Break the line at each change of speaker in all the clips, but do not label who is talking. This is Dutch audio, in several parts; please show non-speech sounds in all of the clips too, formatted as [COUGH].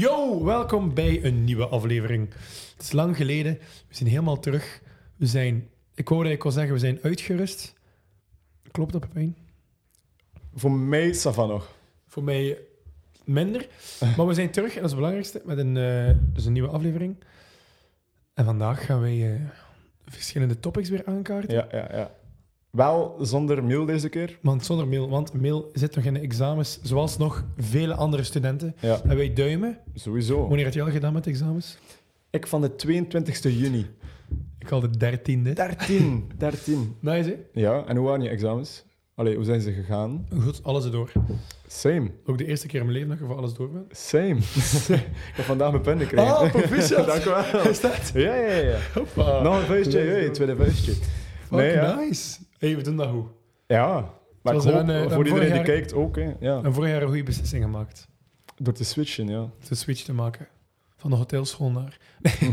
Yo, welkom bij een nieuwe aflevering. Het is lang geleden. We zijn helemaal terug. We zijn, ik wou dat ik al zeggen, we zijn uitgerust. Klopt dat, Pepijn?
Voor mij is dat van nog.
Voor mij minder. Maar we zijn terug, en dat is het belangrijkste, met een, eh, dus een nieuwe aflevering. En vandaag gaan wij eh, verschillende topics weer aankaarten.
Ja, ja, ja. Wel zonder mail deze keer.
Want zonder mail, want mail zit nog in de examens, zoals nog vele andere studenten.
Ja,
En wij duimen.
Oh. sowieso.
Wanneer had je al gedaan met de examens?
Ik van de 22 juni.
Ik al de dertiende.
13. 13.
Nice, hè?
Ja, en hoe waren je examens? Allee, hoe zijn ze gegaan?
Goed, alles erdoor.
Same.
Ook de eerste keer in mijn leven dat ik voor alles door ben.
Same. [LAUGHS] ik heb vandaag mijn pen gekregen.
Ah, proficiat.
[LAUGHS] Dank u wel.
Is dat?
Ja, ja, ja.
Hoppa.
Nog een vuistje.
Let's
Hey,
go.
tweede vuisttje.
Fuck,
Nee, ja.
nice. hey, we doen dat goed.
Ja. Maar ik
Zoals we
hoop,
dan, eh, dan
voor iedereen
vorig
die
jaar-
kijkt ook, hè. Ja.
En vorig jaar een goede beslissing gemaakt.
Door te switchen, ja.
De switch te maken. Van de hotelschool naar...
Nee,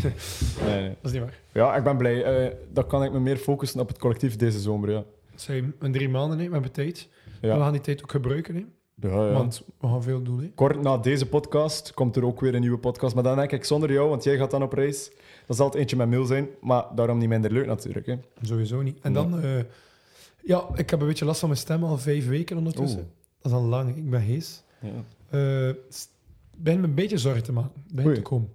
nee.
Dat is niet waar.
Ja, ik ben blij. Eh, dan kan ik me meer focussen op het collectief deze zomer, ja.
Het zijn een drie maanden, hè. we hebben tijd.
Ja.
En we gaan die tijd ook gebruiken, hè.
Ja, ja.
want we gaan veel doen. Hè.
Kort na deze podcast komt er ook weer een nieuwe podcast. Maar dan denk ik zonder jou, want jij gaat dan op reis. Dan zal het eentje met Mil zijn, maar daarom niet minder leuk natuurlijk. Hè.
Sowieso niet. En dan... eh, ja, ik heb een beetje last van mijn stem al vijf weken ondertussen.
Oeh.
Dat is al lang. Ik ben hees.
Ja.
Eh, s- ben me een beetje zorgen te maken. Ben
Oei.
te komen.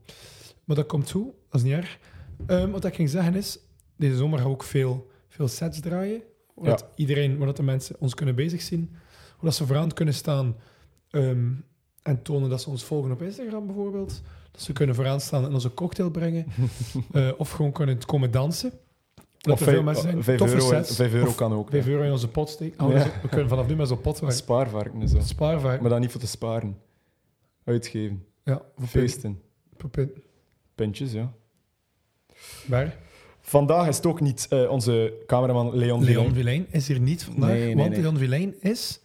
Maar dat komt toe. Dat is niet erg. Ehm, wat ik ging zeggen is, deze zomer gaan we ook veel, veel sets draaien. Zodat
Ja.
iedereen, zodat de mensen ons kunnen bezig zien. Zodat ze vooraan kunnen staan ehm, en tonen dat ze ons volgen op Instagram bijvoorbeeld. Dat ze kunnen vooraan staan en onze cocktail brengen.
[LAUGHS]
Eh, of gewoon kunnen komen dansen. Dat
Of
er
vijf- eh,
veel mensen zijn.
vijf
Toffe
euro,
sets.
vijf euro
Of
kan ook.
vijf oh euro in onze pot steken. Oh,
Ja.
dus We kunnen vanaf nu met zo'n pot
Een
werken.
Spaarvarken en zo.
Spaarvaart.
Maar dan niet voor te sparen. Uitgeven.
Ja, voor
Feesten. Pintjes, ja.
Waar?
Vandaag is het ook niet eh, onze cameraman Leon,
Leon
Villijn.
Villain is hier niet vandaag,
Nee, nee,
want
nee.
Leon Villain is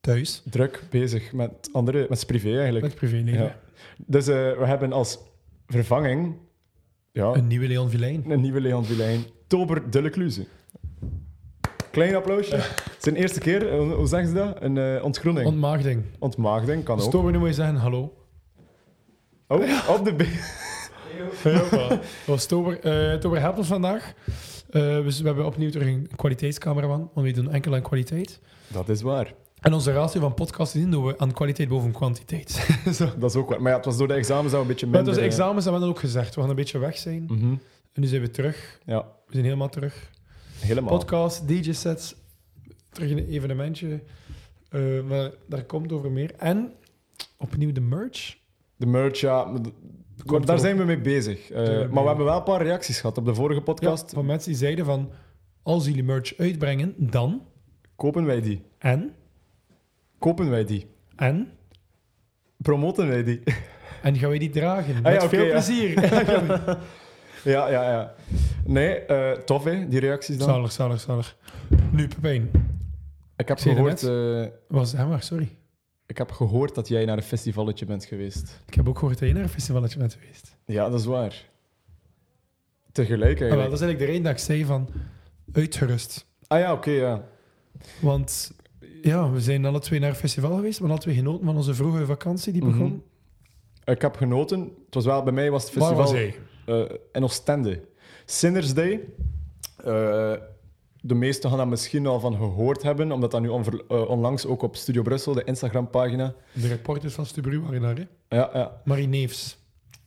thuis
Druk bezig met andere, met zijn privé eigenlijk.
met privéleven.
Ja. Dus eh, we hebben als vervanging ja,
Een nieuwe Leon Villain.
Een nieuwe Leon Villain. Tober de Lecluze. Klein applausje. Zijn eerste keer, eh, hoe zeggen ze dat? Een eh, ontgroening.
Ontmaagding.
Ontmaagding kan ook.
Stober, nu moet je zeggen hallo.
Oh, op de be-
[LAUGHS] Oh, Stober, eh Stober helpt ons vandaag. Eh, dus we hebben opnieuw terug een kwaliteitscameraman, want we doen enkel aan kwaliteit.
Dat is waar.
En onze ratio van podcasts in doen we aan kwaliteit boven kwantiteit. [LAUGHS] [LAUGHS] Zo.
Dat is ook waar. Maar ja, het was door de examens dat we een beetje
Maar
minder...
dus
eh,
examens hebben we dan ook gezegd. We gaan een beetje weg zijn.
mhm.
En nu zijn we terug.
Ja,
We zijn helemaal terug.
helemaal.
podcast, DJ-sets, terug in een evenementje. Eh, maar daar komt over meer. En opnieuw de merch.
De merch, ja. maar d-
Komt
Daar
erop.
zijn we mee bezig. Eh,
we
maar
mee.
we hebben wel een paar reacties gehad op de vorige
Ja,
podcast.
van mensen die zeiden van, als jullie merch uitbrengen, dan
Kopen wij die?
en,
Kopen wij die?
en,
Promoten wij
[LAUGHS]
die?
en gaan wij die dragen. Met
Ah ja, oké,
veel
ja.
plezier.
ja, ja, ja. Nee, eh, tof hè, die reacties [LAUGHS] dan.
zalig, zalig, zalig. Nu, Pepijn.
Ik heb
Zie je
gehoord... eh,
Was, hè, maar, sorry.
Ik heb gehoord dat jij naar een festivalletje bent geweest.
Ik heb ook gehoord dat je naar een festivaletje bent geweest.
Ja, dat is waar. Tegelijk
Ah, wel, dat
eigenlijk.
is eigenlijk de reden dat ik zei van, uitgerust.
Ah ja, oké, ja.
Want ja, we zijn alle twee naar een festival geweest, maar alle twee genoten van onze vroege vakantie die begon.
Mhm. Ik heb genoten. Het was wel, bij mij was het
Waar
festival
was hij?
eh, in Oostende. Sinners Day. Eh, de meesten gaan daar misschien al van gehoord hebben, omdat dat nu onver- eh, onlangs ook op Studio Brussel, de Instagram-pagina.
De reporters van Stubru waren daar, hè?
Ja, ja.
Marie Neefs.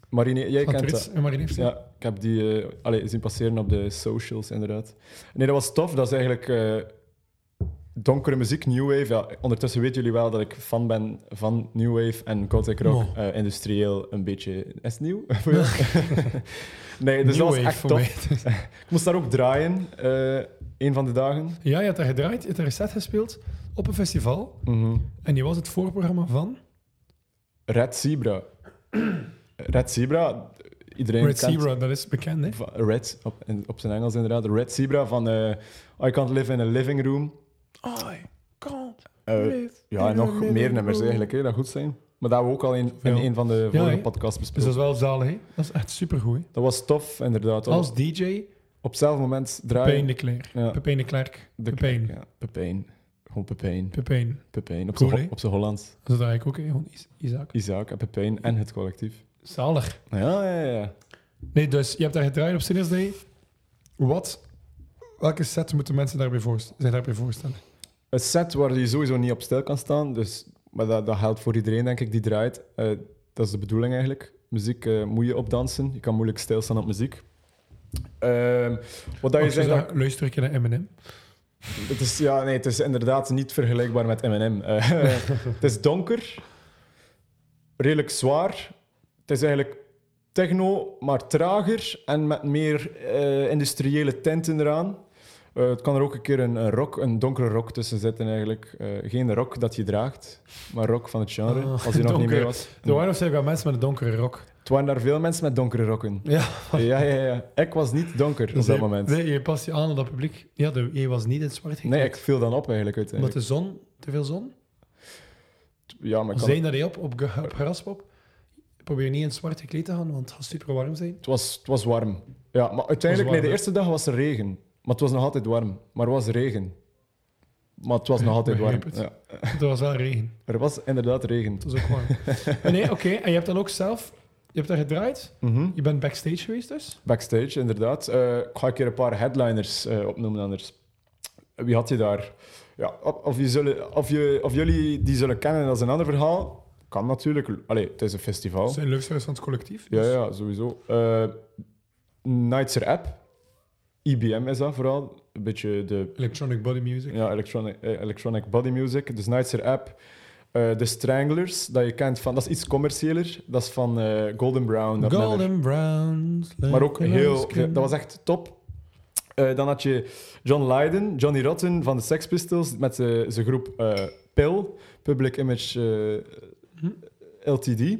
Marine, jij
Van
kent dat.
Trits en Marie Neefs.
Ja, ik heb die eh, allee, zien passeren op de socials, inderdaad. Nee, dat was tof. Dat is eigenlijk eh, donkere muziek, new wave. Ja, ondertussen weten jullie wel dat ik fan ben van new wave en gothic rock.
Mo.
eh, industrieel een beetje... Is het nieuw? [LAUGHS]
[LAUGHS]
Voor jou? nee, dus
New
dat was
Wave
echt
voor
tof.
mij.
Ik moest daar ook draaien, eh een van de dagen.
Ja, je hebt daar gedraaid, je hebt daar een set gespeeld op een festival. En je was het voorprogramma van
Red Zebra. [CLEARS THROAT] Red Zebra, iedereen
Red
kent...
Zebra, dat is bekend, hè?
Va- Red, op, in- op zijn Engels inderdaad. Red Zebra van eh, I Can't Live in a Living Room.
I can't
Eh,
live
Ja,
in
en
a
nog meer
living
nummers
room.
eigenlijk, hè, dat goed zijn. Maar dat we ook al in, in
Ja.
een van de vorige
hè.
podcasts
Dus
besproken.
dat is wel zalig, hè? Dat is echt supergoed, hè?
dat was tof, inderdaad. Dat
Als
was
DJ,
op hetzelfde moment draaien.
Pepijn de Klerk.
Ja.
Pepijn de Klerk.
De
Pepijn.
Ja, Pepijn. Gewoon Pepijn.
Pepijn.
Pepijn. Op zijn
Cool,
Ho-
hè?
op zijn Hollands.
Dat is dat eigenlijk ook, hè? Gewoon Is- Isaac.
Isaac en Pepijn en het collectief.
Zalig.
Ja, ja, ja.
Nee, dus je hebt daar gedraaid op Sinners Day. Wat, welke set moeten mensen daarbij voorst- zich daarbij voorstellen?
Een set waar je sowieso niet op stil kan staan. Dus, maar dat, dat geldt voor iedereen, denk ik, die draait. Eh, dat is de bedoeling eigenlijk. Muziek eh, moet je opdansen. Je kan moeilijk stilstaan op muziek. Ehm, wat dat je
Als je
zegt, dat-
zegt, luister ik M&M? naar Eminem.
Het is, ja, nee, het is inderdaad niet vergelijkbaar met M&M. Eh, [LAUGHS] het is donker, redelijk zwaar. Het is eigenlijk techno, maar trager en met meer eh, industriële tinten eraan. Eh, het kan er ook een keer een, een rock, een donkere rock tussen zitten eigenlijk. Eh, geen rock dat je draagt, maar rock van het genre,
Ah,
als je nog niet
donker.
mee was. Mm.
Er waren nog steeds wel mensen met een donkere rok.
Het waren daar veel mensen met donkere rokken.
Ja, [LAUGHS]
ja, ja, ja. Ik was niet donker op
Dus
dat
je-
moment.
Ah. Nee, je past je aan op dat publiek. Ja, de, je was niet in het zwart
Nee, ik
gekleed.
viel dan op eigenlijk
Omdat
uiteindelijk.
de zon, te veel zon.
Ja, maar ik kan-
Zijn dat hij op, op, ge- op graspop? Probeer niet in het zwart gekleed te gaan, want het gaat super warm zijn.
[LAUGHS] Het was, het was warm. Ja, maar uiteindelijk,
warm,
nee, de
hè?
eerste dag was er regen. Maar het was nog altijd warm. Maar er was regen. Maar het was nog altijd warm.
Begrijp
Ja.
Het was wel regen.
Er was inderdaad regen.
Het was ook
[LAUGHS]
warm. nee, oké. En je hebt dan ook zelf... Je hebt daar gedraaid.
Mhm.
Je bent backstage geweest dus.
Backstage, inderdaad. Eh, ik ga een keer een paar headliners eh, opnoemen anders. Wie had je daar? Ja, of, of je zullen, of, je, of jullie die zullen kennen, dat is een ander verhaal. Kan natuurlijk. Allee, het is een festival.
zijn luisteraars van het collectief.
Oh. Ja, ja, sowieso. Eh Nightser App. IBM is dat vooral. Een beetje de
Dus Electronic body music.
Ja, electronic, eh, electronic body music. Dus Nightser app. eh de Stranglers, dat je kent van, dat is iets commerciëler. Dat is van eh, Golden Brown. Dat nummer.
Golden brown.
Maar ook heel, dat was echt top. Eh, dan had je John Lydon, Johnny Rotten van de Sex Pistols met z'n- zijn groep eh Pill, Public Image eh, LTD.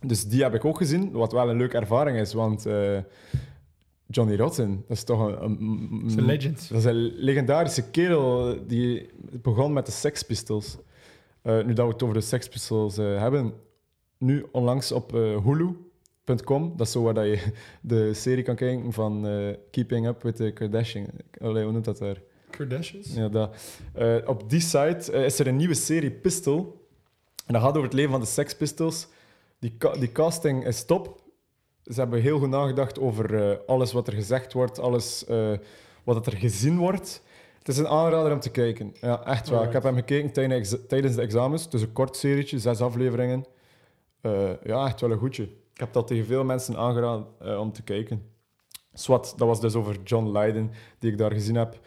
Dus die heb ik ook gezien, wat wel een leuke ervaring is, want eh, Johnny Rotten, dat is toch een... een-
is een legend.
Dat is een legendarische kerel die begon met de Sex Pistols. Eh, nu dat we het over de Sex Pistols eh, hebben, nu onlangs op eh, Hulu.com, dat is zo waar dat je de serie kan kijken van eh, Keeping Up with the Kardashians. Allee, hoe noemt dat daar?
Kardashians.
Ja, dat. Eh, op die site eh, is er een nieuwe serie Pistol. En dat gaat over het leven van de Sex Pistols. Die, ca- die casting is top. Ze hebben heel goed nagedacht over eh, alles wat er gezegd wordt, alles eh, wat dat er gezien wordt. Het is een aanrader om te kijken. Ja, echt waar. Ik heb hem gekeken tijdens- tijdens de examens. Dus een kort serietje, zes afleveringen. Eh, ja, echt wel een goedje. Ik heb dat tegen veel mensen aangeraden eh, om te kijken. Swat, dat was dus over John Lydon, die ik daar gezien heb.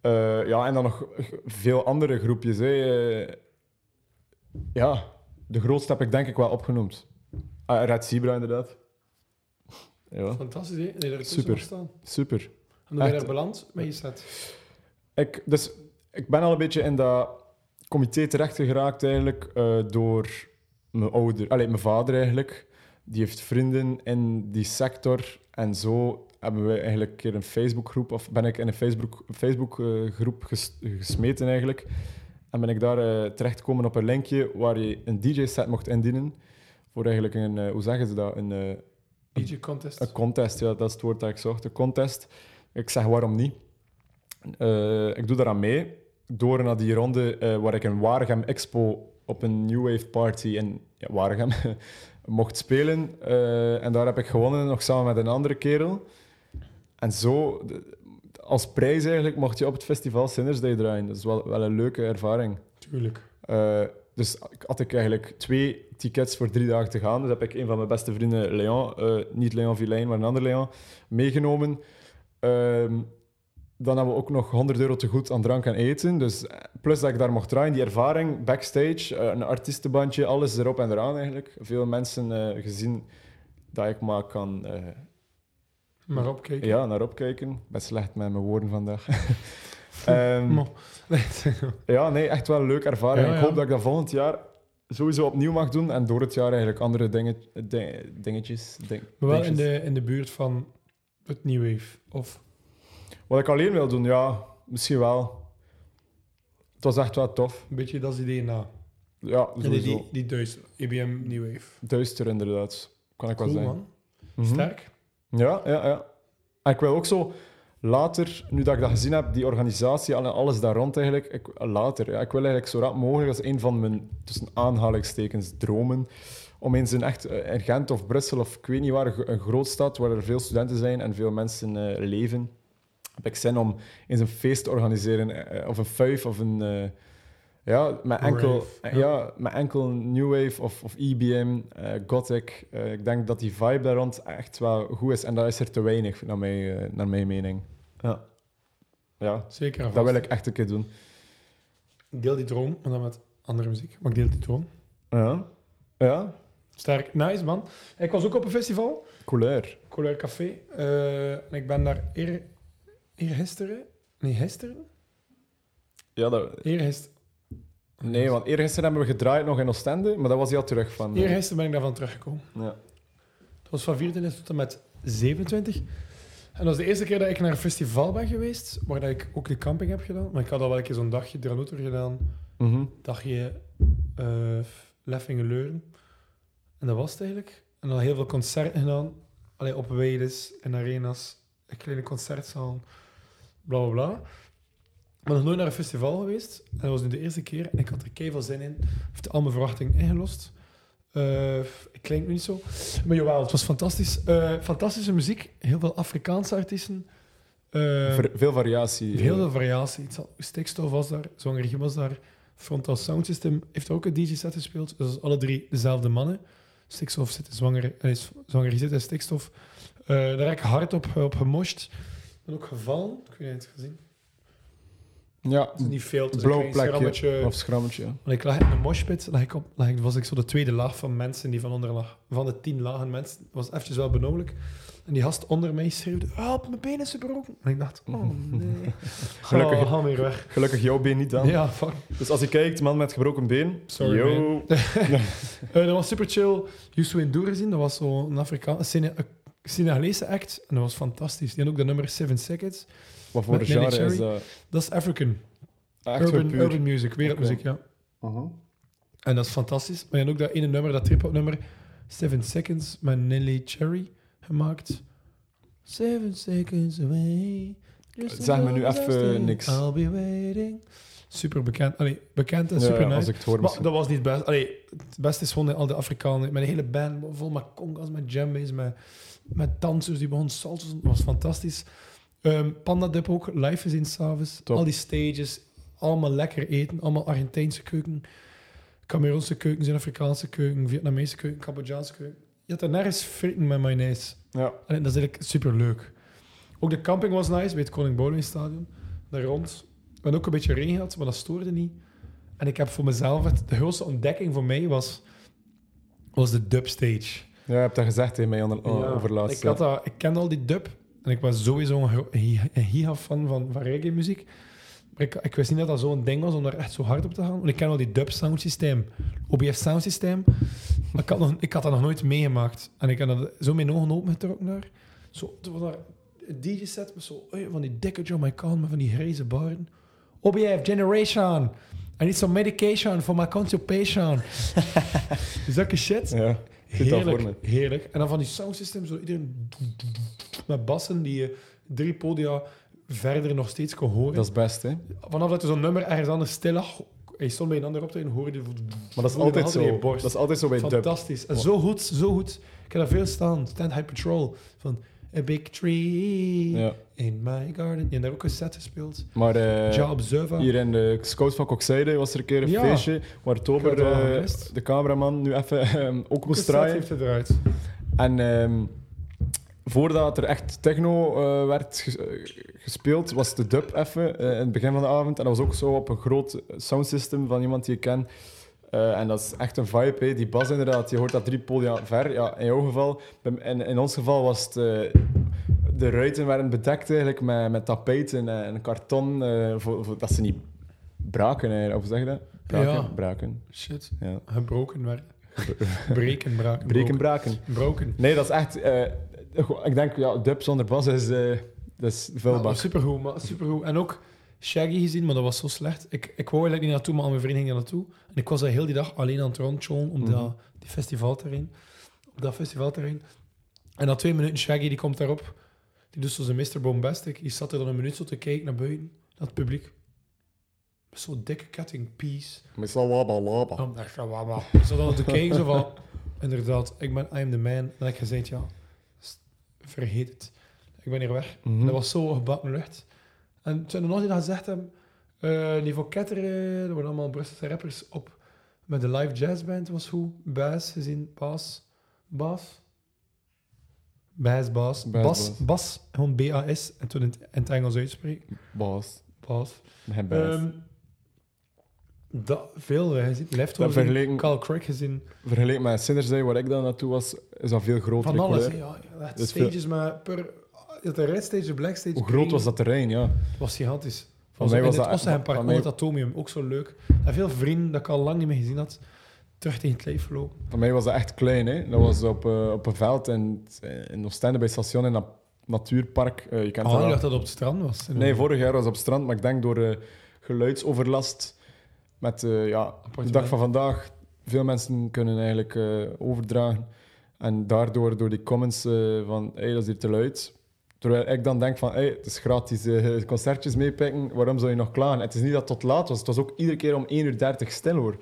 Eh, ja, en dan nog veel andere groepjes. Hè. Eh, ja, de grootste heb ik denk ik wel opgenoemd. Ah, Red Zebra, inderdaad. Ja,
Fantastisch, hè? Nee, daar is
Super.
Super. staan.
super.
En dan ben je
Echt.
daar beland met je set.
Ik, dus ik ben al een beetje in dat comité terecht geraakt eigenlijk eh, door mijn ouder, allee, mijn vader eigenlijk. Die heeft vrienden in die sector en zo hebben we eigenlijk een keer een Facebookgroep of ben ik in een Facebook, Facebookgroep groep ges- gesmeten eigenlijk. En ben ik daar eh, terechtgekomen op een linkje waar je een DJ-set mocht indienen voor eigenlijk een, eh, hoe zeggen ze dat, een, eh,
DJ contest.
een contest, ja, dat is het woord dat ik zocht. Een contest. Ik zeg waarom niet. Eh, ik doe daaraan mee door naar die ronde eh, waar ik in Waregem Expo op een New Wave Party in ja, Waregem [LAUGHS] mocht spelen. Eh, en daar heb ik gewonnen, nog samen met een andere kerel. En zo, de- als prijs eigenlijk, mocht je op het festival Sinners Day draaien. Dat is wel, wel een leuke ervaring.
Tuurlijk.
Eh, dus ik- had ik eigenlijk twee tickets voor drie dagen te gaan. Dus heb ik een van mijn beste vrienden, Leon, eh, niet Leon Villain, maar een ander Leon, meegenomen. Ehm, dan hebben we ook nog 100 euro te goed aan drank en eten. Dus eh, plus dat ik daar mocht draaien, die ervaring, backstage, eh, een artiestenbandje, alles erop en eraan eigenlijk. Veel mensen eh, gezien dat ik maar kan eh,
Maar opkijken.
ja, naar opkijken. Ik ben slecht met mijn woorden vandaag. [LAUGHS] Ehm,
Mo. Nee, het-
ja, nee, echt wel een leuke ervaring.
Ja,
Ik
ja.
hoop dat ik dat volgend jaar sowieso opnieuw mag doen en door het jaar eigenlijk andere dingen, ding- dingetjes. ding-
maar wel in
dingetjes.
de, in de buurt van het New Wave. Of
Wat ik alleen wil doen, ja, misschien wel. Het was echt wel tof.
een beetje dat idee na.
Ja,
En die,
sowieso.
die, die Duits, IBM New Wave.
Duister inderdaad, kan ik
Cool,
wel zeggen.
man.
Mhm.
Sterk.
Ja, ja, ja. En ik wil ook zo Later, nu dat ik dat gezien heb, die organisatie en alles daar rond eigenlijk, ik, later, ja, ik wil eigenlijk zo rap mogelijk als een van mijn, tussen aanhalingstekens, dromen, om eens in echt eh, in Gent of Brussel of ik weet niet waar, een grootstad waar er veel studenten zijn en veel mensen eh, leven, heb ik zin om eens een feest te organiseren, eh, of een fuif, of een... eh, ja, met enkel, eh,
Rave,
ja. met enkel New Wave of, of EBM, eh, Gothic. Eh, ik denk dat die vibe daar rond echt wel goed is. En dat is er te weinig, naar mijn, eh, naar mijn mening. Ja. Ja,
Zeker. en
dat
vast.
wil ik echt een keer doen.
Ik deel die droom, maar dan met andere muziek. Maar ik deel die droom.
Ja. Ja,
Sterk. Nice, man. Ik was ook op een festival.
couleur.
Couleur Café. eh, en ik ben daar eer, eergisteren... Nee, gisteren?
Ja, dat...
Eergisteren.
Nee, want eergisteren hebben we gedraaid nog in Oostende, maar dat was hij al terug van... eh,
Eergisteren ben ik daarvan teruggekomen.
Ja.
Dat was van 24 tot en met 27. En dat is de eerste keer dat ik naar een festival ben geweest, waar dat ik ook de camping heb gedaan. Maar ik had al wel een keer zo'n dagje Dranouter gedaan,
Mhm.
dagje eh Leffingen-Leuren. En dat was het eigenlijk. En dan heel veel concerten gedaan. Allee, op wedes, in arenas, in kleine concertzaal, bla bla bla. Maar nog nooit naar een festival geweest. En dat was nu de eerste keer. En ik had er keihard zin in. Heeft al mijn verwachtingen ingelost. Eh, ik klink nu niet zo. Maar jawel, het was fantastisch. Eh, fantastische muziek. Heel veel Afrikaanse artiesten. Eh,
Ver- veel variatie. eh,
Heel veel variatie. Het zal- Stikstof was daar, Zwangerie was daar, Frontal Sound System heeft ook een DJ-set gespeeld. Dus dat is alle drie dezelfde mannen. Stikstof zit in zwanger, eh, is- Zwangerie zit in Stikstof. Eh, daar heb ik hard op, eh, op gemosht. Ben ook gevallen. Ik weet niet of je het gezien.
Ja,
Het is niet veel. Het is een
blauw
klein
plekje.
schrammetje.
Of schrammetje.
Want ik lag in een moshpit, lag ik op, lag ik, was ik zo de tweede laag van mensen die van onder lag. Van de tien lagen mensen, was eventjes wel benodiglijk. En die gast onder mij schreeuwde, help, mijn benen is gebroken. En ik dacht, oh nee.
[LAUGHS] Gelukkig-
Oh, gaan we weer weg.
Gelukkig jouw been niet dan.
Ja, fuck.
Dus als je kijkt, man met gebroken been.
Sorry,
yo.
man. Eh, dat was super chill. Youssou N'Dour gezien, dat was zo'n Afrikaan, een Sene- een Senegalese act. En dat was fantastisch. Die had ook de nummer Seven Seconds.
[LAUGHS] Wat voor
Met Nene
genre is
Cherry?
dat?
Dat is African.
Echt
Urban,
wel puur.
urban music, wereldmuziek, ja. En dat is fantastisch. Maar je hebt ook dat ene nummer, dat trip-hop nummer, Seven Seconds, met Nelly Cherry gemaakt. Seven seconds away. Just
Zeg me nu
another
even
step.
niks.
I'll be waiting. Super bekend. Allee, bekend en
Ja,
super nice.
Als ik het hoor,
Maar
misschien.
dat was niet het best. Allee, het beste is gewoon al de Afrikanen. Met een hele band, vol met congas, met djembe's, met, met dansers die begonnen salto's. Dat was fantastisch. Ehm Panda Dip ook, live gezien s'avonds.
Top.
Al die stages, allemaal lekker eten. Allemaal Argentijnse keuken, Cameroonse keuken, Zuid-Afrikaanse keuken, Vietnamese keuken, Cambodjaanse keuken. Je had er nergens frieten met mayonaise.
Ja.
Allee, dat is eigenlijk super leuk. Ook de camping was nice bij het Koning Boudewijn Stadion. Daar rond. We hadden ook een beetje regen gehad, maar dat stoorde niet. En ik heb voor mezelf... Het, de grootste ontdekking voor mij was, was de dubstage.
ja, je hebt dat gezegd tegen mij onder,
Ja,
eh, over laatst.
Ik, had dat, ik kende al die dub. En ik was sowieso een gro- een giga-fan van, van reggae-muziek. Maar ik, ik wist niet dat dat zo'n ding was om daar echt zo hard op te gaan. Want ik ken wel die dub-soundsysteem. OBF-soundsysteem. Maar ik had, nog, ik had dat nog nooit meegemaakt. En ik had dat zo mijn ogen opengetrokken daar. Zo, toen was daar een DJ-set met zo, oei, van die dikke Jamaican met van die grijze baren. OBF, Generation. I need some medication for my constipation. [LAUGHS] Zulke shit.
Ja. Ik zit al voor me.
Heerlijk, heerlijk. En dan van die soundsystem, zo iedereen met bassen die je drie podia verder nog steeds kon horen.
Dat is best, hè?
Vanaf dat er zo'n nummer ergens anders stil lag, hij stond bij een ander op te hoorde je...
Maar dat is
Voel je
altijd
dat in
zo.
je borst.
Dat is altijd zo bij dub.
Fantastisch. En zo goed, zo goed. Ik heb daar veel staan. Stand High Patrol van A Big Tree
Ja.
in My Garden. Die hebben daar ook een set gespeeld.
Maar eh,
Ja, Observa.
hier in de Scout van Kokzijde was er een keer een
Ja.
feestje waar
Ik
Tober,
had wel
eh,
gemist.
de cameraman, nu even [LAUGHS] ehm, ook
Ook een
moest
set
draaien.
heeft hij eruit.
En ehm, voordat er echt techno eh, werd ges- eh, gespeeld, was de dub even eh, in het begin van de avond. En dat was ook zo op een groot soundsystem van iemand die je kent. Eh, en dat is echt een vibe, hè. die bas inderdaad. Je hoort dat drie podia ver. Ja, in jouw geval, bij- in, in ons geval was het... eh, de ruiten werden bedekt eigenlijk met, met tapijten en, en karton, eh, voor, voor, dat ze niet braken eigenlijk. Of hoe zeg je dat? Braken,
Ja.
braken.
Shit.
Ja.
Gebroken werden. Breken, braken.
Breken, braken.
Broken.
Nee, dat is echt. eh, ik denk, ja, dub zonder bas is, eh dat is
Ja,
vuilbak.
maar Nou, supergoed, maar supergoed. En ook Shaggy gezien, maar dat was zo slecht. Ik, ik wou eigenlijk niet naartoe, maar al mijn vrienden gingen daar naartoe. En ik was daar heel die dag alleen aan het rondjolen om dat, die festivalterrein. Op dat festivalterrein. En na twee minuten Shaggy, die komt daarop. Die doet zo zijn Mr. Bombastic. Die zat er dan een minuut zo te kijken naar buiten, naar het publiek. Met zo'n dikke cutting piece.
Met laba laba.
Dan dacht ik, ja, wauw, wauw. Zo dan te kijken, zo van... [LAUGHS] Inderdaad, ik ben I'm the man. En ik gezegd, ja, st- vergeet het. Ik ben hier weg. Dat
Mhm.
was zo gebakken lucht. En toen er nog niet dat gezegd hebben, eh Niveau Ketteren, er worden allemaal Brusselse rappers op. Met de live jazzband was goed. Baas gezien, Bas. Bas. Baas, Bas.
Bas,
Bas,
Bas.
Bas. Gewoon B-A-S. En toen in het, in het Engels uitspreken.
Baas.
Bas.
Mijn baas.
Ehm dat, veel eh, gezien. Leftover gezien.
Dat vergeleken-
Carl Craig gezien.
Vergeleken met Sinners Day, waar ik dan naartoe was, is dat veel groter.
Van alles.
kleur.
hè, Ja, echt
Dus
stages, maar per... Je had een red stage, een black stage.
Hoe
green.
groot was dat terrein, ja.
Het was gigantisch. Van
Van mij
in
was
het
dat-
Ossenhempark,
van
onder
mij-
het Atomium, ook zo leuk. En veel vrienden dat ik al lang niet meer gezien had, terug tegen het lijf gelopen.
Voor mij was dat echt klein. Hè? Dat was op, eh, op een veld in, in Oostende bij het station in dat natuurpark. Eh, je kent
Ah,
dat
ik
wel.
dacht dat het op het strand was.
Nee, vorig jaar was het op strand, maar ik denk door eh, geluidsoverlast met eh, ja, de dag van vandaag. Veel mensen kunnen eigenlijk eh, overdragen. En daardoor, door die comments eh, van hey, dat is hier te luid. Terwijl ik dan denk van, hey, het is gratis eh, [LAUGHS] concertjes meepikken, waarom zou je nog klagen? Het is niet dat het tot laat was, het was ook iedere keer om 1.30 uur stil hoor.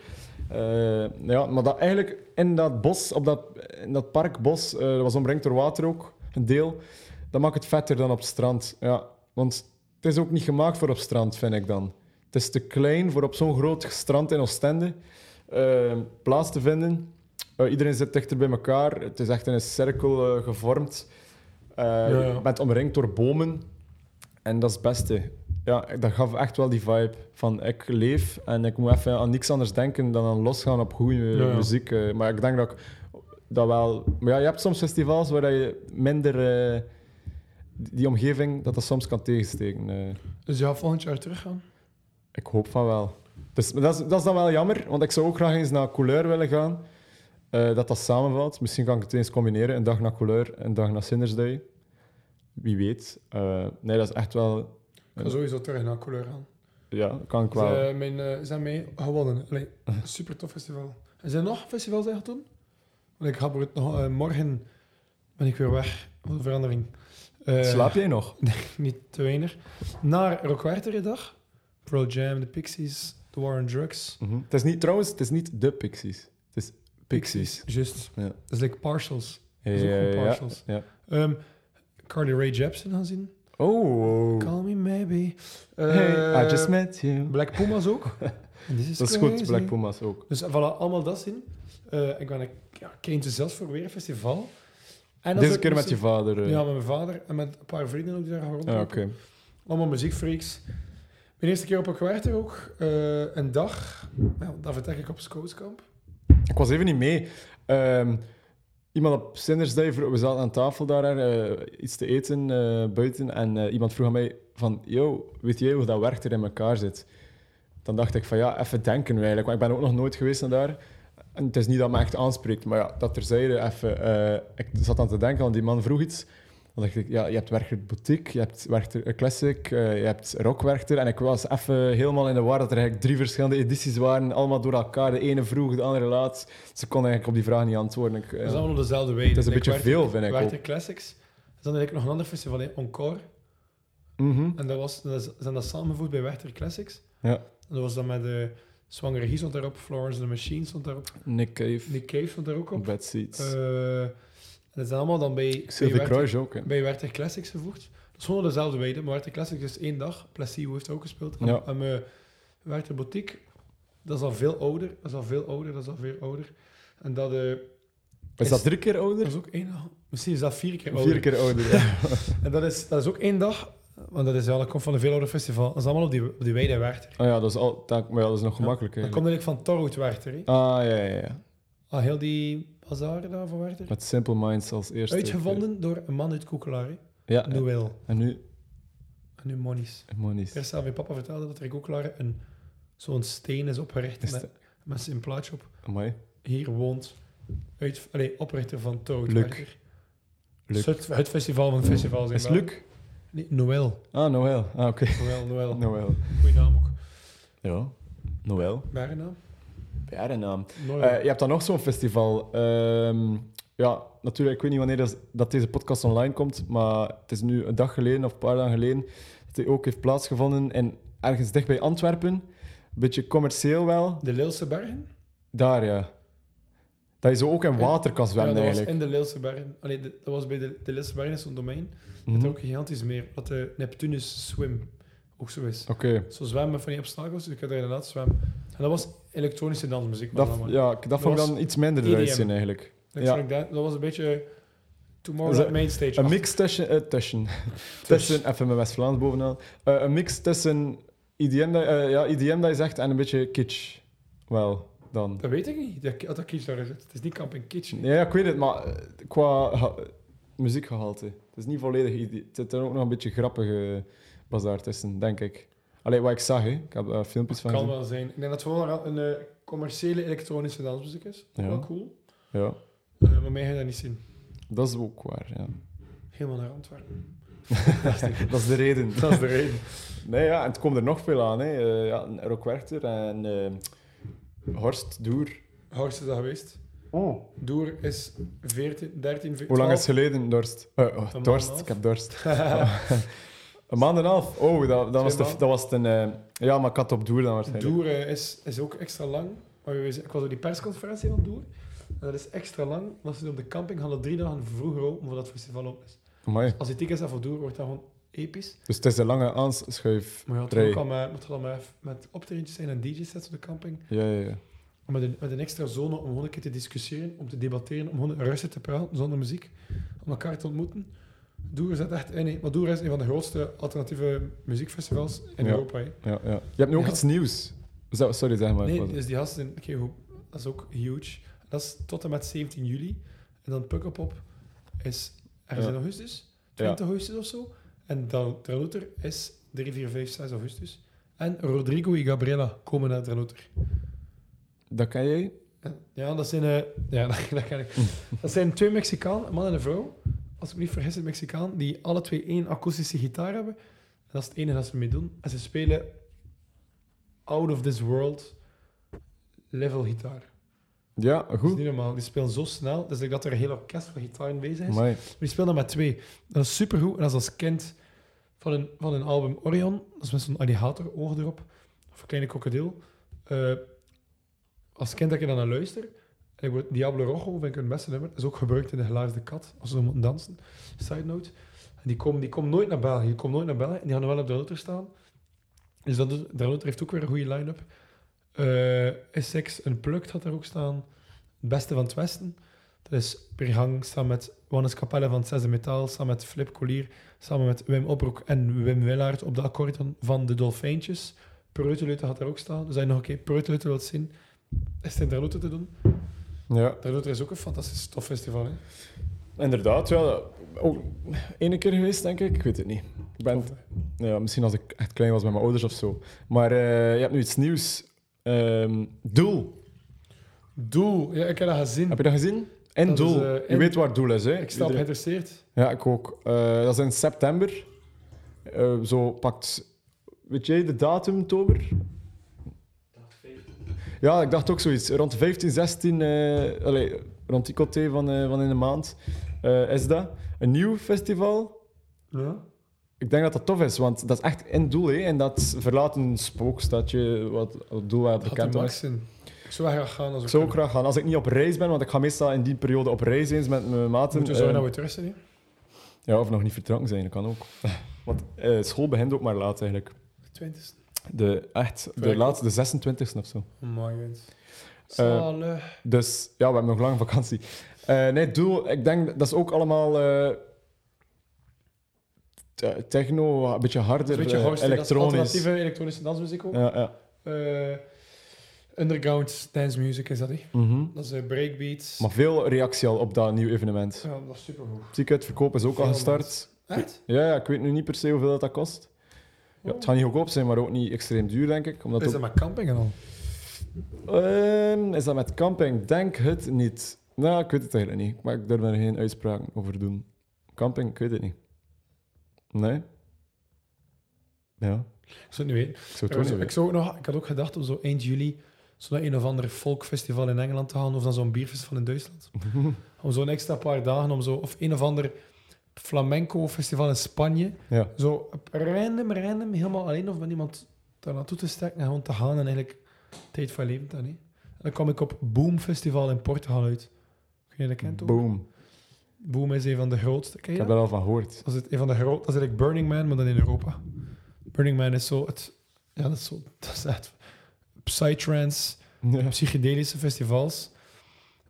Eh, ja, maar dat eigenlijk in dat bos, op dat, in dat parkbos, eh, dat was omringd door water ook, een deel, dat maakt het vetter dan op het strand. Ja, want het is ook niet gemaakt voor op het strand, vind ik dan. Het is te klein voor op zo'n groot strand in Oostende eh, plaats te vinden. Eh, iedereen zit dichter bij elkaar. Het is echt in een cirkel eh, gevormd. Eh,
ja.
Je bent omringd door bomen. En dat is het beste. Ja, dat gaf echt wel die vibe van ik leef en ik moet even aan niks anders denken dan aan losgaan op goede
Ja, ja.
muziek. eh. maar ik denk dat ik dat wel... Maar ja, je hebt soms festivals waar dat je minder... eh, die omgeving, dat dat soms kan tegensteken. eh.
Dus ja, volgend jaar teruggaan.
Ik hoop van wel. Dus, maar dat, is, dat is dan wel jammer, want ik zou ook graag eens naar couleur willen gaan. Eh, dat dat samenvalt. Misschien kan ik het eens combineren. Een dag naar couleur, een dag naar Sinners Day. Wie weet. Eh, nee, dat is echt wel...
Ik ga sowieso terug naar Couleur gaan.
Ja, kan ik
Ze
wel.
mijn, eh, zijn mee gewonnen.
[LAUGHS]
Allee, super tof festival. En zijn er nog festivals eigenlijk toen? Want ik ga het nog, eh, morgen ben ik weer weg. Wat een verandering. Eh,
Slaap jij nog?
[LAUGHS] niet te weinig. Naar Rockwerter dag. Pro Jam, The Pixies, The War on Drugs.
Mhm. Het is niet, trouwens, het is niet de Pixies. Het is Pixies.
Just.
Ja.
Dat is like partials.
Ja,
is ook
ja,
gewoon
ja,
partials.
ja.
Ehm, Carly Rae Jepsen gaan zien.
Oh.
Call me maybe. Eh,
Hey, I just met you.
Black Puma's
[LAUGHS]
ook. En This is
Dat is
crazy.
goed, Black Puma's ook.
Dus voilà, allemaal dat zien. Eh, ik ben een ja, kindje zelfs voor weer een festival. En
Deze keer met je vader. eh.
Ja, met mijn vader en met een paar vrienden ook die daar gaan rondlopen.
Ah, oké.
Allemaal muziekfreaks. Mijn eerste keer op een kwartier ook. eh, een dag. Nou, dat vertrek ik op Scoutskamp.
Ik was even niet mee. Ehm, iemand op Sinners Day, vro- we zaten aan tafel daar eh, iets te eten eh, buiten. En eh, iemand vroeg aan mij van, yo, weet jij hoe dat werkt er in elkaar zit? Dan dacht ik van, ja, even denken eigenlijk. Want ik ben ook nog nooit geweest naar daar. En het is niet dat me echt aanspreekt, maar ja, dat terzijde even. eh, ik zat aan te denken, want die man vroeg iets. Dan dacht ik, ja, je hebt Werchter Boutique, je hebt Werchter eh, Classic, eh, je hebt Rockwerchter. En ik was even helemaal in de war dat er eigenlijk drie verschillende edities waren, allemaal door elkaar. De ene vroeg, de andere laat. Ze kon eigenlijk op die vraag niet antwoorden. Ik, eh,
Dat is allemaal op dezelfde wijze.
het is een
Like
beetje
Werther-
veel, vind ik ook.
Werther Classics. Dus dan heb ik nog een ander festival in Encore.
Mhm.
En dat was, dat is- zijn dat samengevoegd bij Werther Classics.
Ja.
En dat was dan met de Zwangere Guy stond daarop, Florence and the Machine stond daarop,
Nick Cave,
Nick Cave stond daar ook op.
Bad Seeds.
Eh, en dat zijn allemaal dan bij, bij,
Sylvie
Werther,
Kruijs ook. hè.
bij Werther Classics gevoegd. Dat is gewoon op dezelfde wijze, maar Werther Classics is één dag. Placebo heeft ook gespeeld. En,
Ja.
en eh, Werther Boutique, dat is al veel ouder, dat is al veel ouder, dat is al veel ouder. En dat, eh,
Is dat drie keer
dat
ouder?
is ook één dag. Misschien is dat vier keer ouder.
Vier keer ouder, ja.
[LAUGHS]
[LAUGHS]
En dat is, dat is ook één dag, want dat, is, ja, dat komt van een veel ouder festival. Dat is allemaal op die, op die wijde Werther.
Oh ja, dat is, al, dat, maar ja, dat is nog gemakkelijk.
Dat
eigenlijk.
komt eigenlijk van Torhout Werther. hè.
Ah, ja, ja, ja.
Al heel die bazaar daar van Werther.
Met Simple Minds als eerste.
Uitgevonden door een man uit Koekelaar. hè.
Ja, ja.
Noël.
en nu
En nu Monies.
Monies.
Eerst aan mijn papa vertelde dat er in Koekelaar een, zo'n steen is opgericht
Is
met,
dat-
met zijn plaatje op.
Amai.
Hier woont uit, allee, oprichter van Torhout
Luc.
Werther.
Luc.
Het, het festival van festivals in
Is
België.
Luc?
Nee,
[LAUGHS]
Noël.
Ah, Noël. Ah, oké.
Noël, Noël.
Noël.
Goeie naam ook.
Ja. Noël.
Nare naam?
Bijna naam.
Noël.
Eh, je hebt dan nog zo'n festival. ehm, ja, natuurlijk, ik weet niet wanneer dat, dat deze podcast online komt, maar het is nu een dag geleden of een paar dagen geleden dat hij ook heeft plaatsgevonden en ergens dicht bij Antwerpen. Een beetje commercieel wel.
De Leelse Bergen?
Daar, ja. Dat je zo ook in water kan
Ja,
zwemmen,
dat was
eigenlijk.
in de Leelse Bergen. Allee, de- dat was bij de, de Leelse Bergen, is zo'n domein.
Mhm.
Dat ook gigantisch meer. Wat de Neptunus Swim ook zo is.
Oké.
Zo zwemmen van die obstakels, dus ik had daar inderdaad zwemmen. En dat was elektronische dansmuziek. maar
Dat,
dan maar.
ja, ik- dat vond ik
was
dan iets minder eruit
EDM.
zien, eigenlijk.
Dat,
ja.
vond ik dan- dat was een beetje Tomorrow
Zo-
at Main Stage.
Een mix tussen... eh, tussen. [LAUGHS] tussen even mijn West-Vlaams bovenaan. Eh, een mix tussen IDM dat, eh, ja, IDM dat je zegt en een beetje kitsch. Wel, dan.
Dat weet ik niet. Dat, dat kitsch daar is. Het is niet Camping Kitchen.
Ja, ja, ik weet het, maar eh, qua ha- muziekgehalte. Het is niet volledig IDM. Het zit er ook nog een beetje grappige bazaar tussen, denk ik. Allee, wat ik zag, hè. Ik heb daar filmpjes van
Kan
gezien.
wel zijn. Ik denk dat het vooral een eh, commerciële elektronische dansmuziek is.
Ja.
Wel cool.
Ja,
Eh, maar mij ga je dat niet zien.
dat is ook waar,
[LAUGHS]
ja.
Helemaal naar
[LAUGHS]
Antwerpen.
dat is de reden.
[LAUGHS] Dat is de reden.
Nee, ja, en het komt er nog veel aan. Hè. Eh, ja, Rock Werchter en eh, Horst Doer.
Horst is dat geweest. Doer is 14, 13, 14.
Hoe lang is het geleden, Dorst? Eh, oh,
maand en
dorst,
half.
ik heb dorst.
[LAUGHS]
een maand en een half? Oh, dat, dat, was, de,
maanden.
dat was een... eh, ja, maar kat op Doer dan waarschijnlijk.
Doer eh, is, is ook extra lang. Maar we wezen- ik was op die persconferentie van Doer. En dat is extra lang, want ze doen op de camping gaan dat drie dagen vroeger open voordat het festival op is.
Amai.
Als je tickets hebt voor Doer, wordt dat gewoon episch.
Dus het is een lange aanschuif.
Maar ja, het
Drie.
gaat ook al met, het gaat al met, met optredentjes zijn en DJ's op de camping.
Ja, ja, ja.
Om Met een, met een extra zone om gewoon een keer te discussiëren, om te debatteren, om gewoon rustig te praten zonder muziek, om elkaar te ontmoeten. Doer zit echt in, hè. maar Doer is een van de grootste alternatieve muziekfestivals in
Ja.
Europa. hè.
ja, ja. Je hebt nu ook
Ja.
iets nieuws. Zo- Sorry, zeg maar.
Nee, dus die gasten, oké, goed, dat is ook huge. Dat is tot en met 17 juli. En dan Pukkelpop is ergens
Ja.
in augustus,
Ja.
20 augustus of zo. En dan Terlouter is 3, 4, 5, 6 augustus. En Rodrigo en Gabriela komen naar Terlouter.
Dat kan jij?
Ja, dat zijn, eh, ja, [LAUGHS] dat, dat kan ik. dat zijn twee Mexicaan, een man en een vrouw. Als ik me niet vergis, een Mexicaan, die alle twee één akoestische gitaar hebben. En dat is het enige dat ze mee doen. En ze spelen out of this world level gitaar.
Ja,
Dat is
goed.
niet normaal. Die spelen zo snel. Dus ik dat er een heel orkest van gitaar bezig is. Maar
Amai.
die spelen dat met twee. Dat is supergoed. En dat is als kind van een, van een album Orion. Dat is met zo'n alligator ogen erop. Of een kleine krokodil. Eh, als kind dat ik dan naar luister. En ik word Diablo Rojo vind ik hun beste nummer. Dat is ook gebruikt in de Gelaarde Kat. Als ze moeten dansen. Side note. En die komen die komen nooit naar België. Die komen nooit naar België. En die gaan dan wel op de router staan. Dus dat, doet- de router heeft ook weer een goede line-up. Eh Essex Unplugged had daar ook staan. Het beste van het Westen. Dat is Pergang samen met Wannes Capelle van Zesde Metaal, samen met Flip Collier, samen met Wim Oproek en Wim Willaert op de akkoorden van de Dolfijntjes. Preuteleuter had daar ook staan. Dus als je nog een keer Preuteleuter wilt zien, is het in Terlouter te doen.
Ja.
Terlouter is ook een fantastisch tof festival. Hè?
Inderdaad, ja. dat- Ook één keer geweest, denk ik. Ik weet het niet. Ik ben het-
Tof, hè?
Ja, misschien als ik echt klein was met mijn ouders of zo. Maar eh, je hebt nu iets nieuws. Ehm, Doel.
Doel. Ja, ik heb dat gezien.
Heb je dat gezien? En
Hm. Dat is,
Doel.
eh,
je
in-
weet waar Doel is, hè?
Ik sta op
Iedereen-
geïnteresseerd.
Ja, ik ook. Eh, dat is in september. Eh, zo pakt... Weet jij de datum, Tober? Ja, ik dacht ook zoiets. Rond 15, 16... eh, allee, rond die coté van, eh, van in de maand eh, is dat. Een nieuw festival.
Ja.
Ik denk dat dat tof is, want dat is echt in doel. Hè? En dat verlaat een spookstadje, wat het doel waar
Dat had
bekend
de max
was.
zijn. Ik zou wel graag gaan. Als
Ik zou ook graag gaan. Als ik niet op reis ben, want ik ga meestal in die periode op reis eens met mijn maten.
Moeten we zo
eh,
naar weer terug zijn, hè?
ja, of nog niet vertrokken zijn, dat kan ook. [LAUGHS] Want eh, school begint ook maar laat eigenlijk.
De 20
De, echt, de
Verrek.
laatste, de 26e of zo.
Oh my god. Eh, Zalig.
Dus ja, we hebben nog lang vakantie. Eh, nee, doel, ik denk dat is ook allemaal eh, te- techno, een beetje
Dat is
harder,
een beetje
eh,
house, dat is
elektronisch.
alternatieve elektronische dansmuziek ook.
Ja, ja.
Eh, underground dance music is dat, hè?
Mhm.
Dat is eh, breakbeats.
Maar veel reactie al op dat nieuw evenement.
Ja, dat is supergoed.
Ticketverkoop is ook al
Veel
gestart.
Echt?
Ja, ja, ik weet nu niet per se hoeveel dat, dat kost. Ja, het gaat niet goedkoop zijn, maar ook niet extreem duur, denk ik. Omdat
is
ook-
dat met campingen al?
Ehm, is dat met camping? Denk het niet. Nou, ik weet het eigenlijk niet. Maar ik durf er geen uitspraken over doen. Camping, ik weet het niet. Nee? Ja,
Ik zou het niet weten.
ik zou het ook niet
ik,
weten.
zou ook nog, ik had ook gedacht om zo
[LAUGHS]
eind juli zo naar een of ander folkfestival in Engeland te gaan of dan zo'n bierfestival in Duitsland. om zo'n extra paar dagen, om zo, of een of ander flamenco-festival in Spanje,
Ja.
zo random, random, helemaal alleen of met iemand daar naartoe te steken en gewoon te gaan en eigenlijk tijd van leven dan. hè. En dan kwam ik op Boom Festival in Portugal uit. Kun je dat kent ook?
Boom.
Boom is een van de grootste. Ken
Ik
je
heb
dat?
daar al van gehoord. [LAUGHS]
Dat is het, een van de groot, dat is eigenlijk Burning Man, maar dan in Europa. Burning Man is zo het, ja, dat is zo, dat is echt psytrance,
Ja.
psychedelische festivals.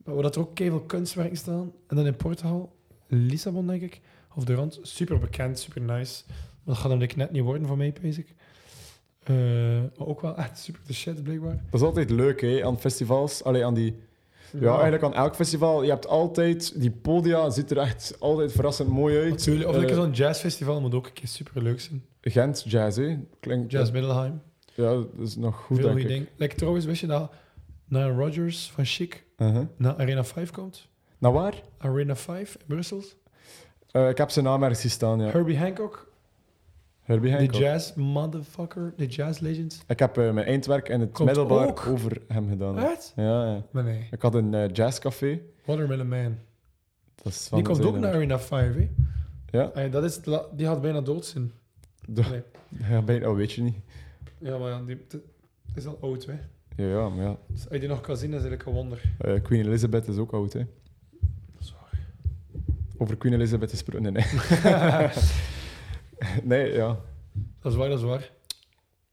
Maar waar dat er ook keihard kunstwerken staan. En dan in Portugal, Lissabon denk ik, of de rand, super bekend, super nice. Maar dat gaat hem denk ik net niet worden voor mij, basic. Eh maar ook wel echt super de shit, blijkbaar.
Dat is altijd leuk, hè, aan festivals. Allee, aan die... Ja, eigenlijk aan elk festival. Je hebt altijd... Die podia ziet er echt altijd verrassend mooi uit.
Natuurlijk, of lekker
Eh,
zo'n jazzfestival moet ook een keer super leuk zijn.
Gent Jazz, hè. Klinkt...
Jazz Middelheim.
Ja, dat is nog
Veel
goed, denk
goede
ik.
dingen. Like, trouwens, wist je dat Nile Rodgers van Chic
Uh-huh.
naar Arena 5 komt.
Naar waar?
Arena 5 in Brussel.
Eh, ik heb zijn naam ergens zien staan, ja.
Herbie Hancock,
Herbie
de
Hancock.
jazz motherfucker, de jazz legend.
Ik heb eh, mijn eindwerk in het
Komt
middelbaar
ook.
over hem gedaan.
Wat?
Ja, ja.
Maar nee,
Ik had een eh, jazzcafé.
Watermelon Man.
Dat is van
Die komt ook
Zeeland.
naar Arena 5, hè?
Ja.
Ah, dat is het la- die had bijna dood zijn.
De-
Nee.
Ja, bijna, oh, weet je niet.
Ja, maar ja, die dat is al oud, hè?
Ja, ja, maar ja.
Dus als je die nog kan zien, dat is eigenlijk een wonder.
Eh, Queen Elizabeth is ook oud, hè. Over Queen Elizabeth is pro... Nee, nee.
[LAUGHS]
[LAUGHS] nee, ja.
Dat is waar, dat is waar.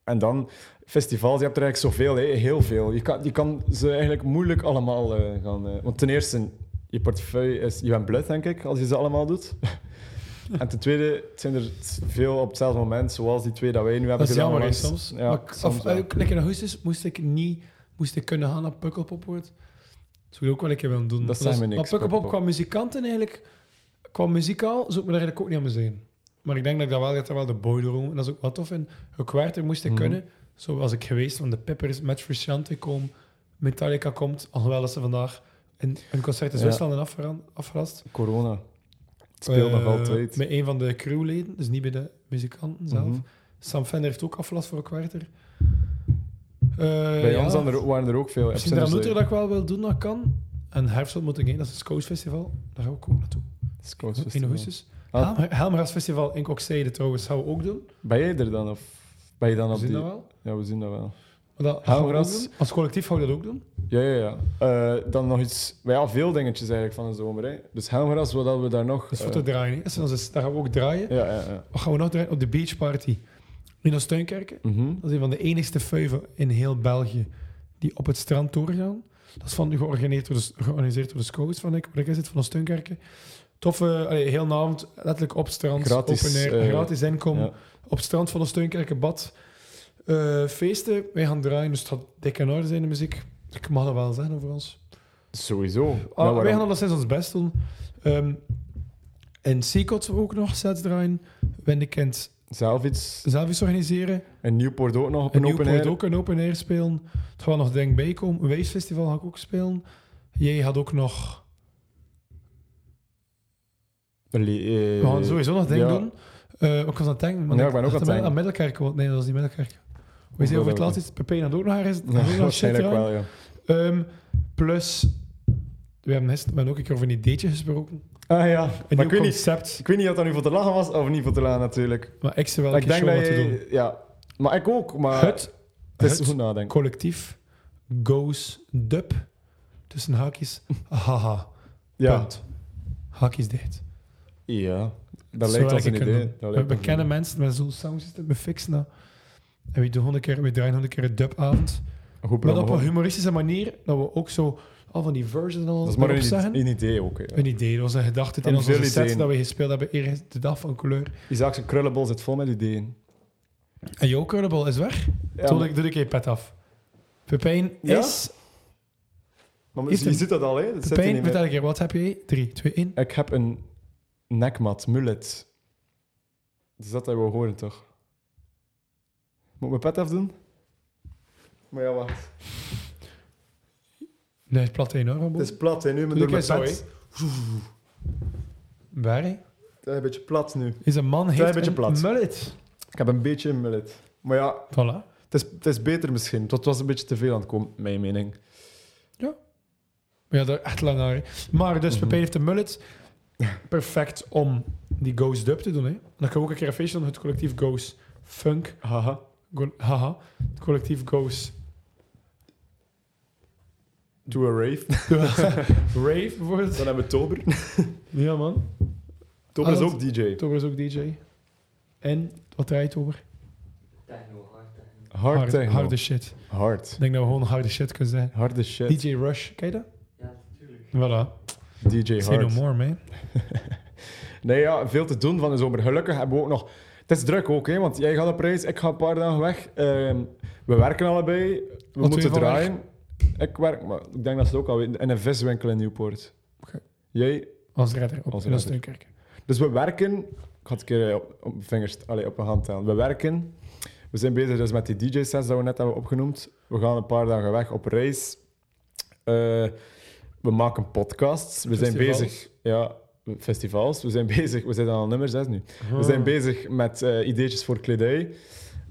En dan, festivals, je hebt er eigenlijk zoveel, hè. heel veel. Je kan, je kan ze eigenlijk moeilijk allemaal eh, gaan... eh, want ten eerste, je portefeuille is... Je bent blut, denk ik, als je ze allemaal doet. [LAUGHS] en ten tweede, het zijn er veel op hetzelfde moment, zoals die twee dat wij nu hebben
Dat is
gedaan.
jammer, hè,
onlangs.
soms.
Ja,
maar, ik-
soms
of, eh,
wel.
ook, lekker in augustus moest ik niet moest ik kunnen gaan naar Pukkelpopwoord. Dat zou ik ook wel een keer willen doen.
Dat
is-
zijn we niks,
Maar Pukkelpop
Pukkelpop.
qua muzikanten eigenlijk, qua muzikaal, zou ik me daar eigenlijk ook niet aan bezien. Maar ik denk dat ik daar wel, dat er wel de boy door En dat is ook wat tof. En Gekwaarter moest ik
Mhm.
kunnen, zoals ik geweest, want de Peppers, Match for Shanty komen, Metallica komt, alhoewel dat ze vandaag een, een concert in
Ja.
Zwitserland hebben afgeran- afgelast.
Corona. Het speelt nog
Eh,
altijd.
Met een van de crewleden, dus niet bij de muzikanten zelf.
Mhm.
Sam Fender heeft ook aflast voor een Eh, kwartier.
Bij ons dan er- waren er ook veel.
Misschien
absenders,
Moeten
hè.
dat ik wel wil doen, dat kan. En Herfstel moet ik heen, dat is het Scouse Festival. Daar ga ik ook naartoe.
Scouts
In
Festival.
augustus.
Ah.
Helm- Helmgras Festival in Kokstede trouwens, gaan we ook doen.
Ben jij er dan? Of ben je dan
We
op
zien
die...
dat wel.
Ja, we zien dat wel.
Maar dat gaan we
Helmgras.
ook doen. Als collectief gaan we dat ook doen.
Ja, ja, ja. Eh, dan nog iets... maar Ja, veel dingetjes eigenlijk van de zomer. Hè. Dus Helmgras, wat hadden we daar nog?
Dat is
Eh,
voor te draaien. hè. Dat is onze- Daar gaan we ook draaien.
ja, ja, ja.
Wat gaan we nog draaien? Op de Beach Party. In ons tuinkerken.
Mhm.
Dat is een van de enigste veuven in heel België die op het strand doorgaan. Dat is van, georganiseerd, door de, georganiseerd door de scouts van ik, waar ik in zit, van de Steunkerken. Toffe, allee, heel de avond, letterlijk op het strand,
Gratis,
open air,
eh,
gratis inkomen.
ja.
Op het strand van de Steunkerken, bad. Eh, feesten, wij gaan draaien, dus het gaat dik in orde zijn de muziek. Ik mag dat wel zeggen over ons.
Sowieso.
Ah,
Nou,
wij
waarom?
gaan alleszins ons best doen. Ehm en Seacot ook nog sets draaien. Wendekent
Zelf iets.
zelf iets organiseren.
En Nieuwpoort ook nog op
En
een open
Nieuwpoort
air.
ook een open air spelen. Het gaat nog denk bij komen. Weesfestival ga ik ook spelen. Jij had ook nog...
Allee, eh,
We gaan sowieso nog denk
ja.
doen. Eh, ik was aan het denken. maar
Ja, ik ben ook aan het
dacht
denken.
Aan Middelkerk. want- Nee, dat was niet Middelkerk. We zijn
dat
over het
ook
laatst iets. Pepijn had ook nog ergens. had ook nog
Ja,
shit
[LAUGHS] waarschijnlijk
gedaan.
wel, ja.
Ehm, plus... We hebben, gisteren- we hebben ook een keer over een ideetje gesproken.
Ah ja,
Een
maar ik
nieuw
weet, niet,
concept.
ik weet niet of dat nu voor te lachen was of niet voor te lachen natuurlijk.
Maar ik zou wel
Maar
een
ik
keer
denk
show
dat
wat te doen.
je... Ja, maar ik ook, maar...
Het,
het is
het
goed nadenken.
collectief goes dub. Tussen haakjes. Haha.
Ja.
Punt. Haakjes dicht.
Ja, dat
Zo
lijkt
wel
ons een
kunnen
idee.
doen.
Dat
We,
lijkt
we
ons
kennen mensen met zo'n soundsystem, we fixen dat. En we, doen honderd keer, we draaien honderd keer een dubavond.
een goed
Maar op een
programma.
humoristische manier, dat we ook zo al van die verses en al
Dat is maar
erop
een,
zeggen.
een idee ook. hè.
Een idee, dat was een gedachte in
En
onze
veel
set
ideeën.
dat we gespeeld hebben eerst de dag van kleur.
Isaac zijn krullenbol zit vol met ideeën.
En jouw curable is weg.
Ja,
Toen
maar-
ik, doe ik je pet af. Pepijn
Ja?
is...
maar
Heeft
je
hem-
ziet dat al, hè? Dat zit er
Pepijn,
niet meer.
vertel een keer, wat heb je? 3, 2, 1.
Ik heb een nekmat, mullet. Dus dat dat je wou horen, toch? Moet ik mijn pet afdoen? Maar ja, wacht.
Nee, het platte enorm van
Het
boven.
is plat, hè, nu met
Doe
door
ik
mijn
eens zo, hè.
pet.
Barry
Het is een beetje plat nu.
is een man,
Klein
heeft
beetje
een
plat.
mullet.
Ik heb een beetje een mullet. Maar ja,
Voilà.
het is, het is beter misschien. Het was een beetje te veel aan het komen, mijn mening.
Ja. Maar ja, daar echt lang naar. hè. Maar dus
Mhm.
Pepijn heeft de mullet. Perfect om die Ghost dub te doen. Hè. Dan kan we ook een keer een feestje doen met het collectief Ghost Funk.
Haha.
Go- haha. Het collectief Ghost
To a rave. [LAUGHS]
Rave bijvoorbeeld.
Dan hebben we Tober.
Ja, man.
Tober
Ah,
is
dat-
ook DJ.
Tober is ook DJ. En wat draait Tober?
Techno, hard techno.
Hard,
Hard-
techno.
harde shit.
Hard.
Ik denk dat we gewoon harde shit kunnen zeggen.
Harde shit.
DJ Rush, ken je dat?
Ja, natuurlijk.
Voilà.
DJ
Say no
Hard.
more, man.
Nee, ja, veel te doen van de zomer. Gelukkig hebben we ook nog... Het is druk ook, hè, want jij gaat op reis, ik ga een paar dagen weg. Ehm, we werken allebei, we
Wat doe je
moeten
van
draaien. Ik werk, maar ik denk dat ze het ook al weten, in een viswinkel in Nieuwpoort.
Oké.
Jij...
Als redder op
Als
in
redder.
Steunkerk.
Dus we werken... Ik ga het een keer eh, op, op vingers, allee, op mijn hand tellen. We werken. We zijn bezig dus met die DJ-sets dat we net hebben opgenoemd. We gaan een paar dagen weg op reis. Eh, we maken podcasts. We zijn
Festivals.
bezig... Ja, festivals. We zijn [LAUGHS] bezig... We zijn dan al nummer 6 nu. We
Ah. Oh.
zijn bezig met eh, ideetjes voor kledij.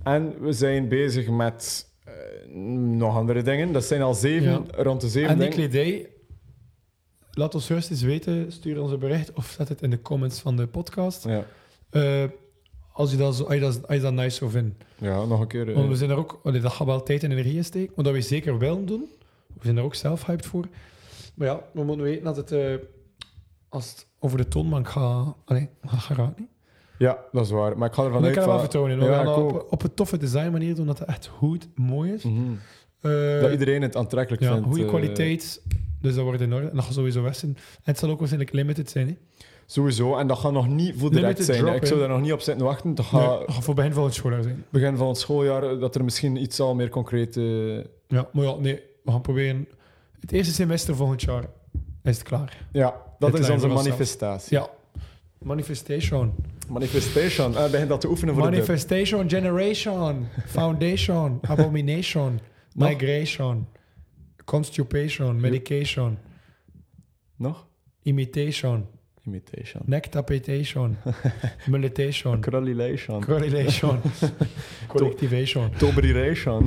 En we zijn bezig met eh, nog andere dingen. Dat zijn al zeven,
Ja.
rond de zeven
En die
dingen.
kledij, laat ons juist eens weten, stuur ons een bericht of zet het in de comments van de podcast.
ja.
Eh, als, je dat zo, als, je dat, als je dat nice zou vinden.
ja, nog een keer. eh,
Want we zijn er ook, allee, dat gaat wel tijd en energie in steken, maar dat we zeker wel doen. We zijn er ook zelf hyped voor. Maar ja, we moeten weten dat het, eh, als het over de toonbank gaat, allee, dat gaat niet.
ja, dat is waar. Maar ik ga ervan
Maar ik
uit...
kan er wel
van-
vertonen.
Ja,
We gaan
ik
dat
ook.
op, op een toffe design manier doen, dat het echt goed, mooi is.
Mhm.
Eh,
dat iedereen het aantrekkelijk
ja,
vindt.
goede
eh,
kwaliteit. Dus dat wordt in orde. En dat gaat sowieso weg zijn. En het zal ook waarschijnlijk limited zijn. Hè?
sowieso. En dat gaat nog niet voor direct
Limited
zijn.
drop,
ik zou
hè.
daar nog niet op zitten wachten. Dat
Nee,
gaat
dat gaat voor begin van het schooljaar zijn.
begin van het schooljaar, eh, dat er misschien iets al meer concreet... eh,
Ja, maar ja, nee, we gaan proberen. Het eerste semester volgend jaar is het klaar.
ja, dat
Deadline
is onze
voor onszelf.
manifestatie.
Ja. Manifestation.
Manifestation. Eh, begin dat te oefenen voor de dub.
Manifestation, generation, foundation,
[LAUGHS]
abomination,
Nog?
migration, constipation, medication,
Nog?
imitation,
Imitation. [LAUGHS]
nectapetation, militation,
Correlation. [LAUGHS]
correlation, collectivation,
Toberation.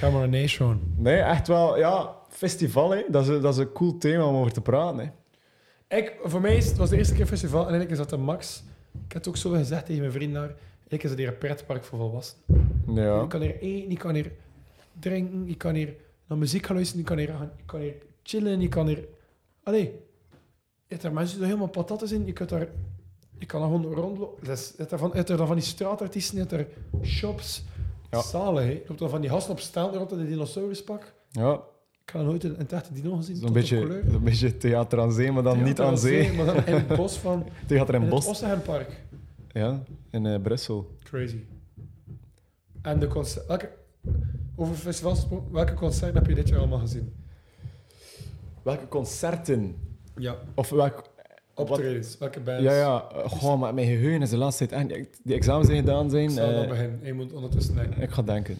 cameronation.
Nee, echt wel. Ja, festival, hè. Dat, is, een- dat is een cool thema om over te praten. Hè.
Ik, voor mij is, het was de eerste keer festival en eigenlijk is dat de max. Ik heb het ook zo gezegd tegen mijn vrienden daar. Eigenlijk is dat hier een pretpark voor volwassenen.
Ja.
Je kan hier eten, je kan hier drinken, je kan hier naar muziek gaan luisteren, je kan hier, gaan- je kan hier chillen, je kan hier... Allee, je hebt daar mensen die er helemaal patatten in, je kunt daar... Je kan daar gewoon rondlopen. Dus, je hebt daar van, je hebt daar dan van die straatartiesten, je hebt daar shops,
Ja.
zalen. hè. Je loopt dan van die gasten op staan rond in een dinosauruspak.
ja.
Ik heb nog nooit een, een echte dino gezien,
Zo'n
tot op
beetje,
kleur.
zo'n beetje theater aan zee, maar dan niet aan zee.
Maar dan in
[LAUGHS]
het bos van...
Theater in
In het
Bos.
Ossenhempark.
Ja, in eh, Brussel.
Crazy. En de concert... Welke, over festivals gesproken, welke concerten heb je dit jaar allemaal gezien?
Welke concerten?
Ja.
Of welk...
Optredens, welke bands?
Ja, ja. eh, Goh, maar mijn geheugen is de laatste tijd... echt- Die examens zijn gedaan
Ik
zijn...
zal
eh,
dan beginnen. Je moet ondertussen denken.
ik ga denken.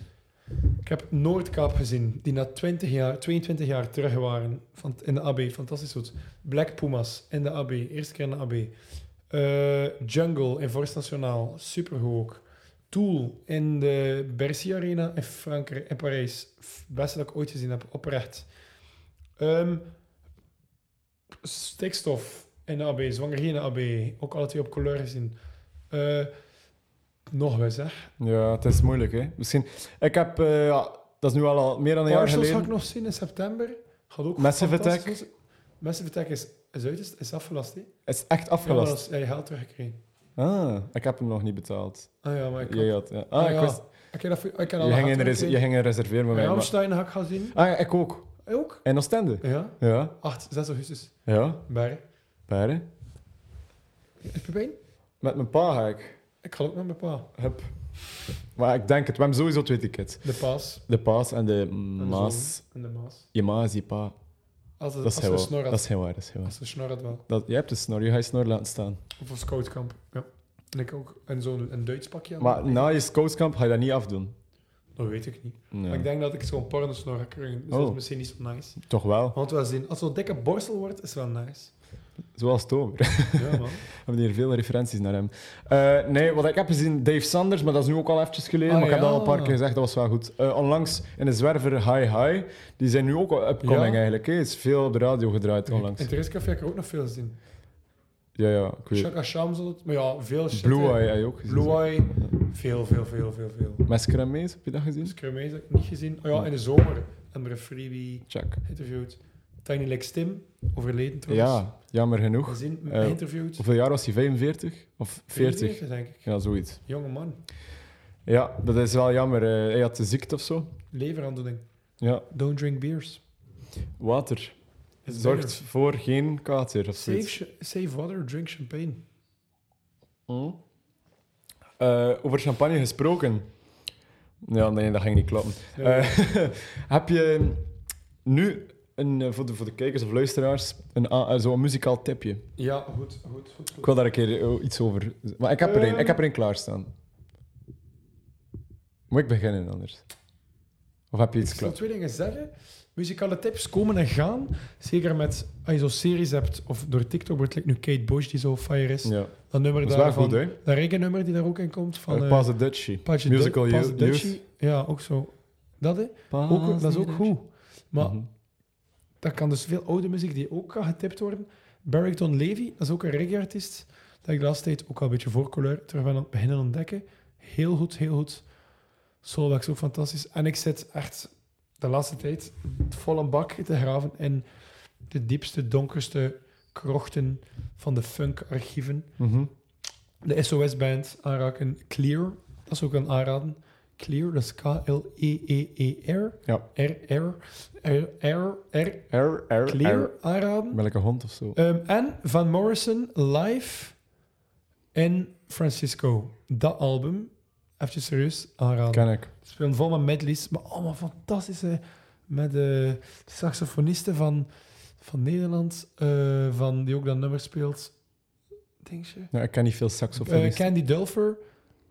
Ik heb Noordkaap gezien, die na 20 jaar, 22 jaar terug waren van, in de AB. Fantastisch goed. Black Pumas in de AB. Eerste keer in de AB. Eh, Jungle in Forst Nationaal. Supergoed ook. Tool in de Bercy Arena in Frankrijk, in Parijs. F- Beste dat ik ooit gezien heb, oprecht. Ehm, stikstof in de AB. Zwanger in de AB. Ook alle twee op kleur gezien. Eh, nog wel zeg.
Ja, het is moeilijk, hè. Misschien... Ik heb... eh, ja, dat is nu al, al meer dan een jaar
Parcels ga ik
geleden.
nog zien in september. Gaat ook
Massive
fantastisch zijn. Massive Attack is, is, uit, is, is afgelast. Hè?
Het is echt
Ja, maar dat
afgelast.
is- ja, je geld teruggekregen.
Ah, ik heb hem nog niet betaald.
Ah ja, maar ik
Jij had... ja. Ah,
Ah,
ik
ja.
wist...
Ik heb dat voor- ik heb
Je ging, in res- je ging in reserveren met mij. maar-
Ramstein ga ik gaan zien.
Ah, ja, ik ook.
Ook?
In Oostende.
Ja.
Ja,
8, 6 augustus.
ja.
Bij.
Baren.
Is Pepijn?
Met mijn pa ga ik.
Ik ga ook met mijn pa.
Hup. Maar ik denk het. We hebben sowieso twee tickets.
De paas.
De paas en de
en de
maas.
zoon En de maas.
Je ma is je pa.
Als, het,
Dat is
als
heel
we
waar.
snor
Dat
had.
is heel waar. Dat is heel waar.
Als we snor had wel.
Dat, jij hebt de snor. Je gaat je snor laten staan.
Of als scoutkamp. Ja. En ik ook. En zo'n een Duits pakje aan.
Maar na je scoutskamp ga je dat niet afdoen.
Dat weet ik niet.
Nee.
Maar ik denk dat ik zo'n pornosnor ga krijgen. Dus dat
Oh.
is misschien niet zo nice.
Toch wel. [LAUGHS]
Want wel zien, als zo'n dikke borstel wordt, is wel nice.
Zoals Tober.
Ja, man.
We hebben hier veel referenties naar hem. Eh, nee, wat ik heb gezien, Dave Sanders, maar dat is nu ook al eventjes geleden.
Ah,
maar ik heb dat
ja.
al een paar keer gezegd, dat was wel goed. Eh, onlangs in de zwerver Hi Hi, die zijn nu ook al upcoming
Ja.
eigenlijk. hè. Is veel op de radio gedraaid onlangs.
In het restcafé heb ik er ook nog veel zien.
Ja, ja, ik weet
Shaka Sham zal het- maar ja, veel shit.
Blue
hè.
Eye heb je ook gezien.
Blue Eye, veel, veel, veel, veel, veel.
Met Scrammees, heb je dat gezien?
Scrumees heb ik niet gezien. Oh ja, in de zomer. Amber Freebie
Check.
interviewd. Tiny Lex Tim, overleden trouwens.
Ja, jammer genoeg.
Gezien,
Eh,
interviewd.
Hoeveel jaar was hij? 45? Of 40?
42, denk ik.
Ja, zoiets.
Jonge man.
Ja, dat is wel jammer. Eh, hij had de ziekte of zo.
Leveraandoening.
Ja,
Don't drink beers.
water.
It's
Zorgt
better.
voor geen kater of
Save,
zoiets.
sh- save water, drink champagne.
Hm. Eh, over champagne gesproken. Ja, nee, dat ging niet kloppen.
Ja.
Eh, [LAUGHS] heb je nu, een, eh, voor, de, voor de kijkers of luisteraars, een, a- eh, zo'n muzikaal tipje?
ja, goed, goed, goed.
Ik
goed.
wil daar een keer eh, iets over... Maar ik heb er één,
Ehm.
ik heb er één klaarstaan. Moet ik beginnen anders? Of heb je iets
Ik wil
klaar?
twee dingen zeggen. Muzikale tips komen en gaan. Zeker met, als je zo'n series hebt, of door TikTok wordt like nu Kate Bush die zo fire is.
Ja,
Dat nummer
dat is wel
daarvan.
goed, hè?
Dat reggae-nummer die daar ook in komt. Van,
Uh,
eh,
Pas the Dutchie.
Pas je
Musical
Du- Pas
Youth.
Dutchie. Ja, ook zo. Dat, hè?
Ah,
Ook, dat is ook goed. Maar
Mhm.
dat kan dus veel oude muziek die ook kan getipt worden. Barrington Levy, dat is ook een reggae-artiest. Dat ik de laatste tijd ook al een beetje voorcolleur terug ben aan het beginnen ontdekken. Heel goed, heel goed. Solwax ook fantastisch. En ik zit echt de laatste tijd vol een bak te graven in de diepste, donkerste krochten van de funk-archieven.
Mhm.
De SOS-band aanraken. Clear, dat is ook een aanraden. Clear, dat is E K-L-E-E-E-R.
Ja.
R-R. R-R-R.
Err, err,
Clear
err.
aanraden.
Welke hond of zo?
Ehm, en Van Morrison live in Francisco. Dat album, even serieus aanraden.
Ken ik.
Ze spelen vol met medleys, maar allemaal fantastische met eh, saxofonisten van, van Nederland, eh, van, die ook dat nummer speelt. Dingetje.
Ja, ik ken niet veel
Eh,
saxofonisten.
Candy Dulfer,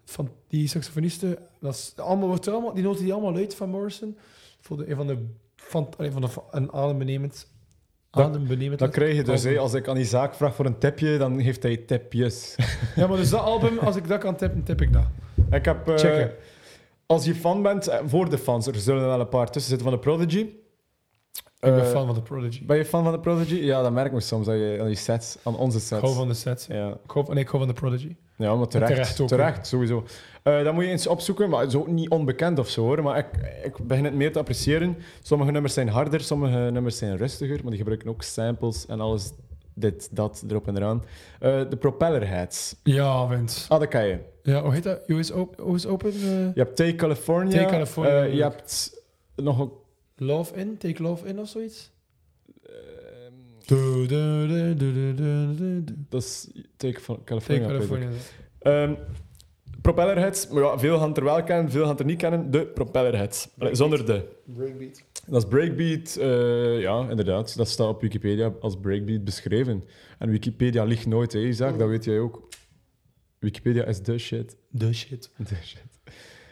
van die saxofonisten. Dat is allemaal, wordt er allemaal, die noten die allemaal uit van Morrison. Voor de, een van de, van, allee, van de een adembenemend.
Dat-
adembenemend
Dan krijg je dus,
album.
hé, als ik aan die zaak vraag voor een tipje, dan geeft hij
[LAUGHS]
tipjes.
Ja, maar dus dat album, als ik dat kan tippen, tip ik dat.
ik heb... eh,
Checken.
als je fan bent, eh, voor de fans, er zullen er wel een paar tussen zitten van de Prodigy.
Ik ben
Eh,
fan van de Prodigy.
Ben je fan van de Prodigy? Ja, dat merk ik soms aan je, aan je sets, aan onze
Ik
sets.
hou van de sets.
Ja.
Ik hou, nee, ik hou van de Prodigy.
ja, maar terecht.
Terecht
Terecht,
ook,
sowieso. Eh dat moet je eens opzoeken, maar het is ook niet onbekend of zo hoor. Maar ik, ik begin het meer te appreciëren. Sommige nummers zijn harder, sommige nummers zijn rustiger, maar die gebruiken ook samples en alles dit, dat, erop en eraan. Eh, de Propellerheads.
Ja, Wint.
Ah, dat kan je.
Ja, hoe heet dat? US Open? US Open eh,
Je hebt Take California.
Take California,
eh, je
natuurlijk.
hebt nog een...
Love In? Take Love In of zoiets?
eh,
Du- du- du- du- du- du- du- du.
dat is Take Fo-
Take
California.
California.
Ehm, propellerheads. Maar ja, veel gaan het er wel kennen, veel gaan het er niet kennen. De Propellerheads. Allee, Zonder de.
Breakbeat.
Dat is Breakbeat. eh, ja, inderdaad. Dat staat op Wikipedia als Breakbeat beschreven. En Wikipedia ligt nooit, hè, Isaac. Dat weet jij ook. Wikipedia is de shit. [LAUGHS]
De shit.
De shit.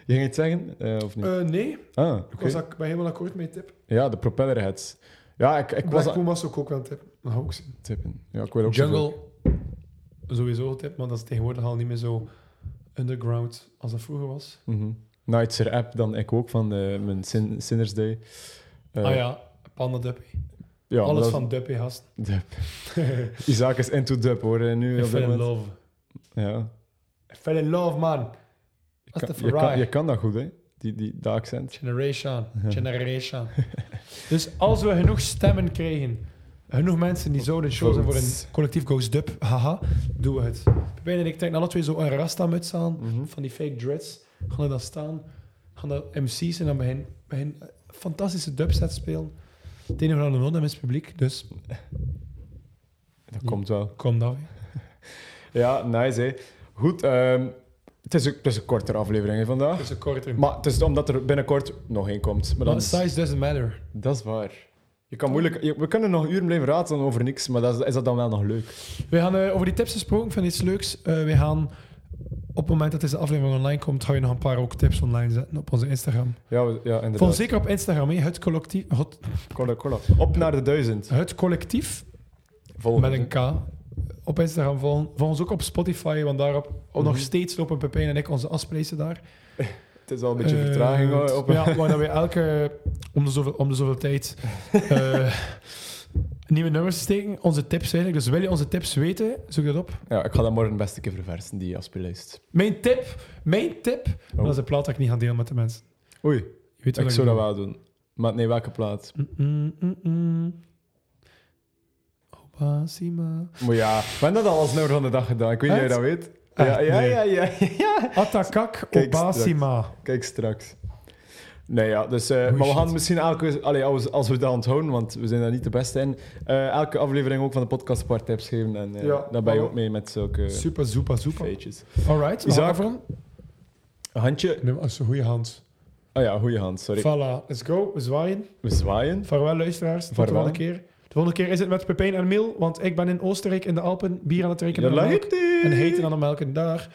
Je ging iets zeggen? eh, of niet?
Eh, nee,
ah, oké.
ik was ak- ben helemaal akkoord met je tip.
Ja, de Propellerheads. Ja, ik, ik
Ik
was
was,
aan
was ook, ook wel een tip. Dat hou ik zien.
het tippen. Ja, ik wil ook zoveel-
Jungle, sowieso een tip, maar dat is tegenwoordig al niet meer zo underground als dat vroeger was.
Mhm. Nightser app, dan ik ook van eh, mijn Sin- Sinners Day. Eh,
ah ja, Panda Duppy.
ja,
Alles
dat-
van Duppy, gast.
Dub. [LAUGHS] Isaac is into dub hoor. eh, Nu
I
op dit
fell in
moment.
love.
Ja.
I fell in love, man.
Je
That's
kan,
the
je, kan,
Ferrari.
je kan dat goed, hè? Die, die, dat accent. [LAUGHS]
Generation. Generation. dus als we genoeg stemmen krijgen, genoeg mensen die zouden chosen voor
Votes.
een collectief Ghost Dub, haha, doen we het. Pepijn en ik trekken alle twee zo een rasta-muts aan,
Mhm.
van die fake dreads. Gaan we dan staan, gaan dat MC's en dan begin, begin fantastische dubsets spelen. Het enige wat we nodig hebben is publiek, dus
Dat
Ja.
komt wel.
kom dan weer.
Ja, nice hè. Goed, ehm, het, is een, het is een kortere aflevering hè, vandaag.
Het is Dus een korter. Maar,
Ah. Maar het is omdat er binnenkort nog één komt. Maar
de
dan,
size doesn't matter.
dat is waar. Je kan moeilijk, je- we kunnen nog uren blijven praten over niks, maar dat is, is dat dan wel nog leuk?
We gaan eh, over die tips gesproken, ik vind iets leuks. Eh, we gaan op het moment dat deze aflevering online komt, ga je nog een paar ook tips online zetten op onze Instagram.
Ja, we- ja
Volg
inderdaad.
zeker op Instagram, hè. het collectief. Het,
Kolla, kolla. Op naar de duizend.
het collectief.
Volgen,
met een
hè.
K. Op Instagram volgen. Volg ons ook op Spotify, want daarop nog
Mhm.
steeds lopen Pepijn en ik onze afspraken daar.
Het is al een beetje
Eh,
vertraging. hoor, op
Ja, waar dat we elke om de zoveel, om de zoveel
[LAUGHS]
tijd eh, nieuwe nummers steken. Onze tips eigenlijk. Dus wil je onze tips weten, zoek dat op.
Ja, ik ga dat morgen best een keer verversen, die afspeellijst.
Mijn tip, mijn tip. Maar Dat is een plaat dat ik niet ga delen met de mensen.
Oei,
Je weet wat
Oh. ik zou dat wel doen. Maar nee, welke plaat?
bedoel. Mm, mm, mm, mm. Opa, Sima.
Maar ja, we hebben dat al als nummer van de dag gedaan. Ik weet niet of je dat weet.
Echt? Ah,
Ja, ja,
Nee.
ja, ja, ja. [LAUGHS]
Atakak,
Kijk
Opa,
straks.
Sima.
Kijk straks. Nee, ja, dus, eh,
Oei,
maar we
shit.
gaan misschien elke... Allee, als, als we dat onthouden, want we zijn daar niet de beste in. eh, elke aflevering ook van de podcast een paar tips geven. En eh,
Ja,
daar ben je
hallo.
ook mee met zulke
Super, super, super.
feitjes.
Alright, we
Isaac.
gaan ervan.
Handje...
Neem als een goede hand.
Oh ja, goede hand, sorry.
Voilà, let's go. We zwaaien.
We zwaaien.
Vaarwel, luisteraars. Tot de
Vaarwel.
volgende keer. De volgende keer is het met Pepijn en Miel, want ik ben in Oostenrijk in de Alpen bier aan het drinken
Ja,
met melk
lag het niet.
en heten aan de melk. Dag.